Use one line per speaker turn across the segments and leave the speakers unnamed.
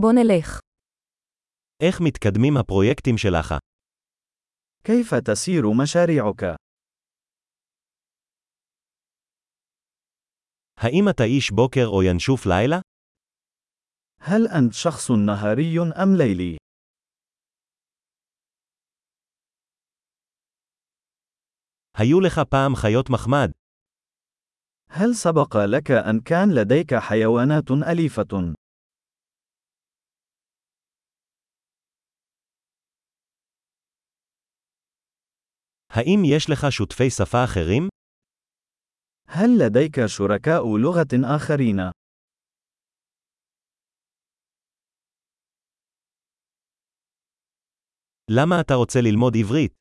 בוא נלך.
איך מתקדמים הפרויקטים שלך?
كيف تسير مشاريعك؟
האם אתה איש בוקר או ינשוף לילה?
هل أنت شخص نهاري أم ليلي؟
היו לך פעם חיות מחמד?
هل سبق لك أن كان لديك حيوانات أليفة؟
האם יש לך שותפי שפה אחרים?
هل لديك شركاء لغة آخرين؟
למה אתה רוצה ללמוד עברית?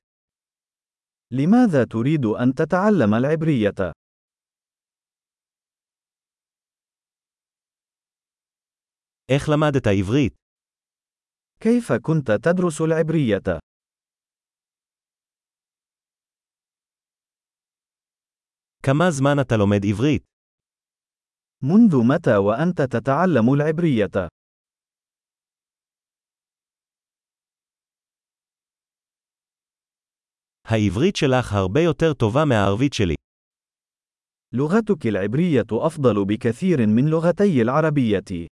لماذا تريد أن تتعلم العبرية؟
איך למדת עברית?
كيف كنت تدرس العبرية؟
כמה זמן אתה לומד עברית?
منذ متى وأنت تتعلم العبرية؟
העברית שלך הרבה יותר טובה מהערבית שלי.
لغتك العبرية أفضل بكثير من لغتي العربية.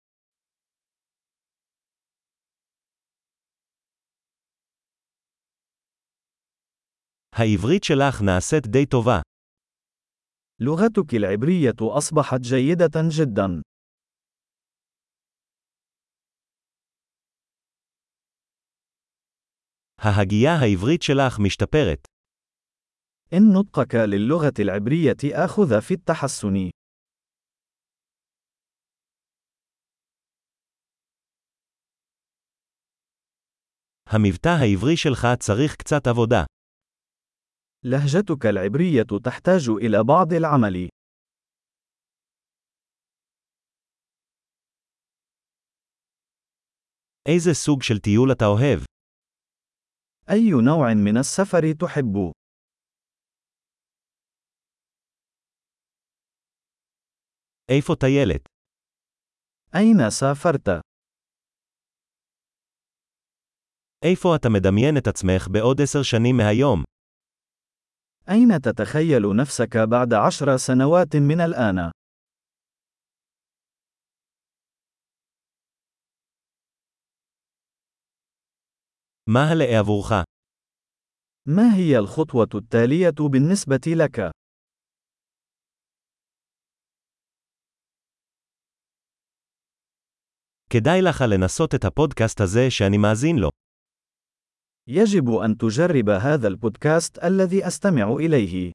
העברית שלך נעשית די טובה.
لغتك العبرية أصبحت جيدة جدا.
ההגייה העברית שלך משתפרת.
إن نطقك للغة العبرية آخذ في التحسن.
המבטא העברי שלך צריך קצת עבודה.
لهجتك العبرية تحتاج إلى بعض العمل.
איזה סוג של טיול אתה אוהב?
أي نوع من السفر تحب؟
איפה טיילת?
أين سافرت؟
איפה אתה מדמיין את עצמך בעוד עשר שנים מהיום?
أين تتخيل نفسك بعد عشر سنوات من الآن؟
מה הלאה עבורך?
ما هي الخطوة التالية بالنسبة لك؟
כדאי לך לנסות את הפודקאסט הזה שאני מאזין לו.
يجب أن تجرب هذا البودكاست الذي أستمع إليه.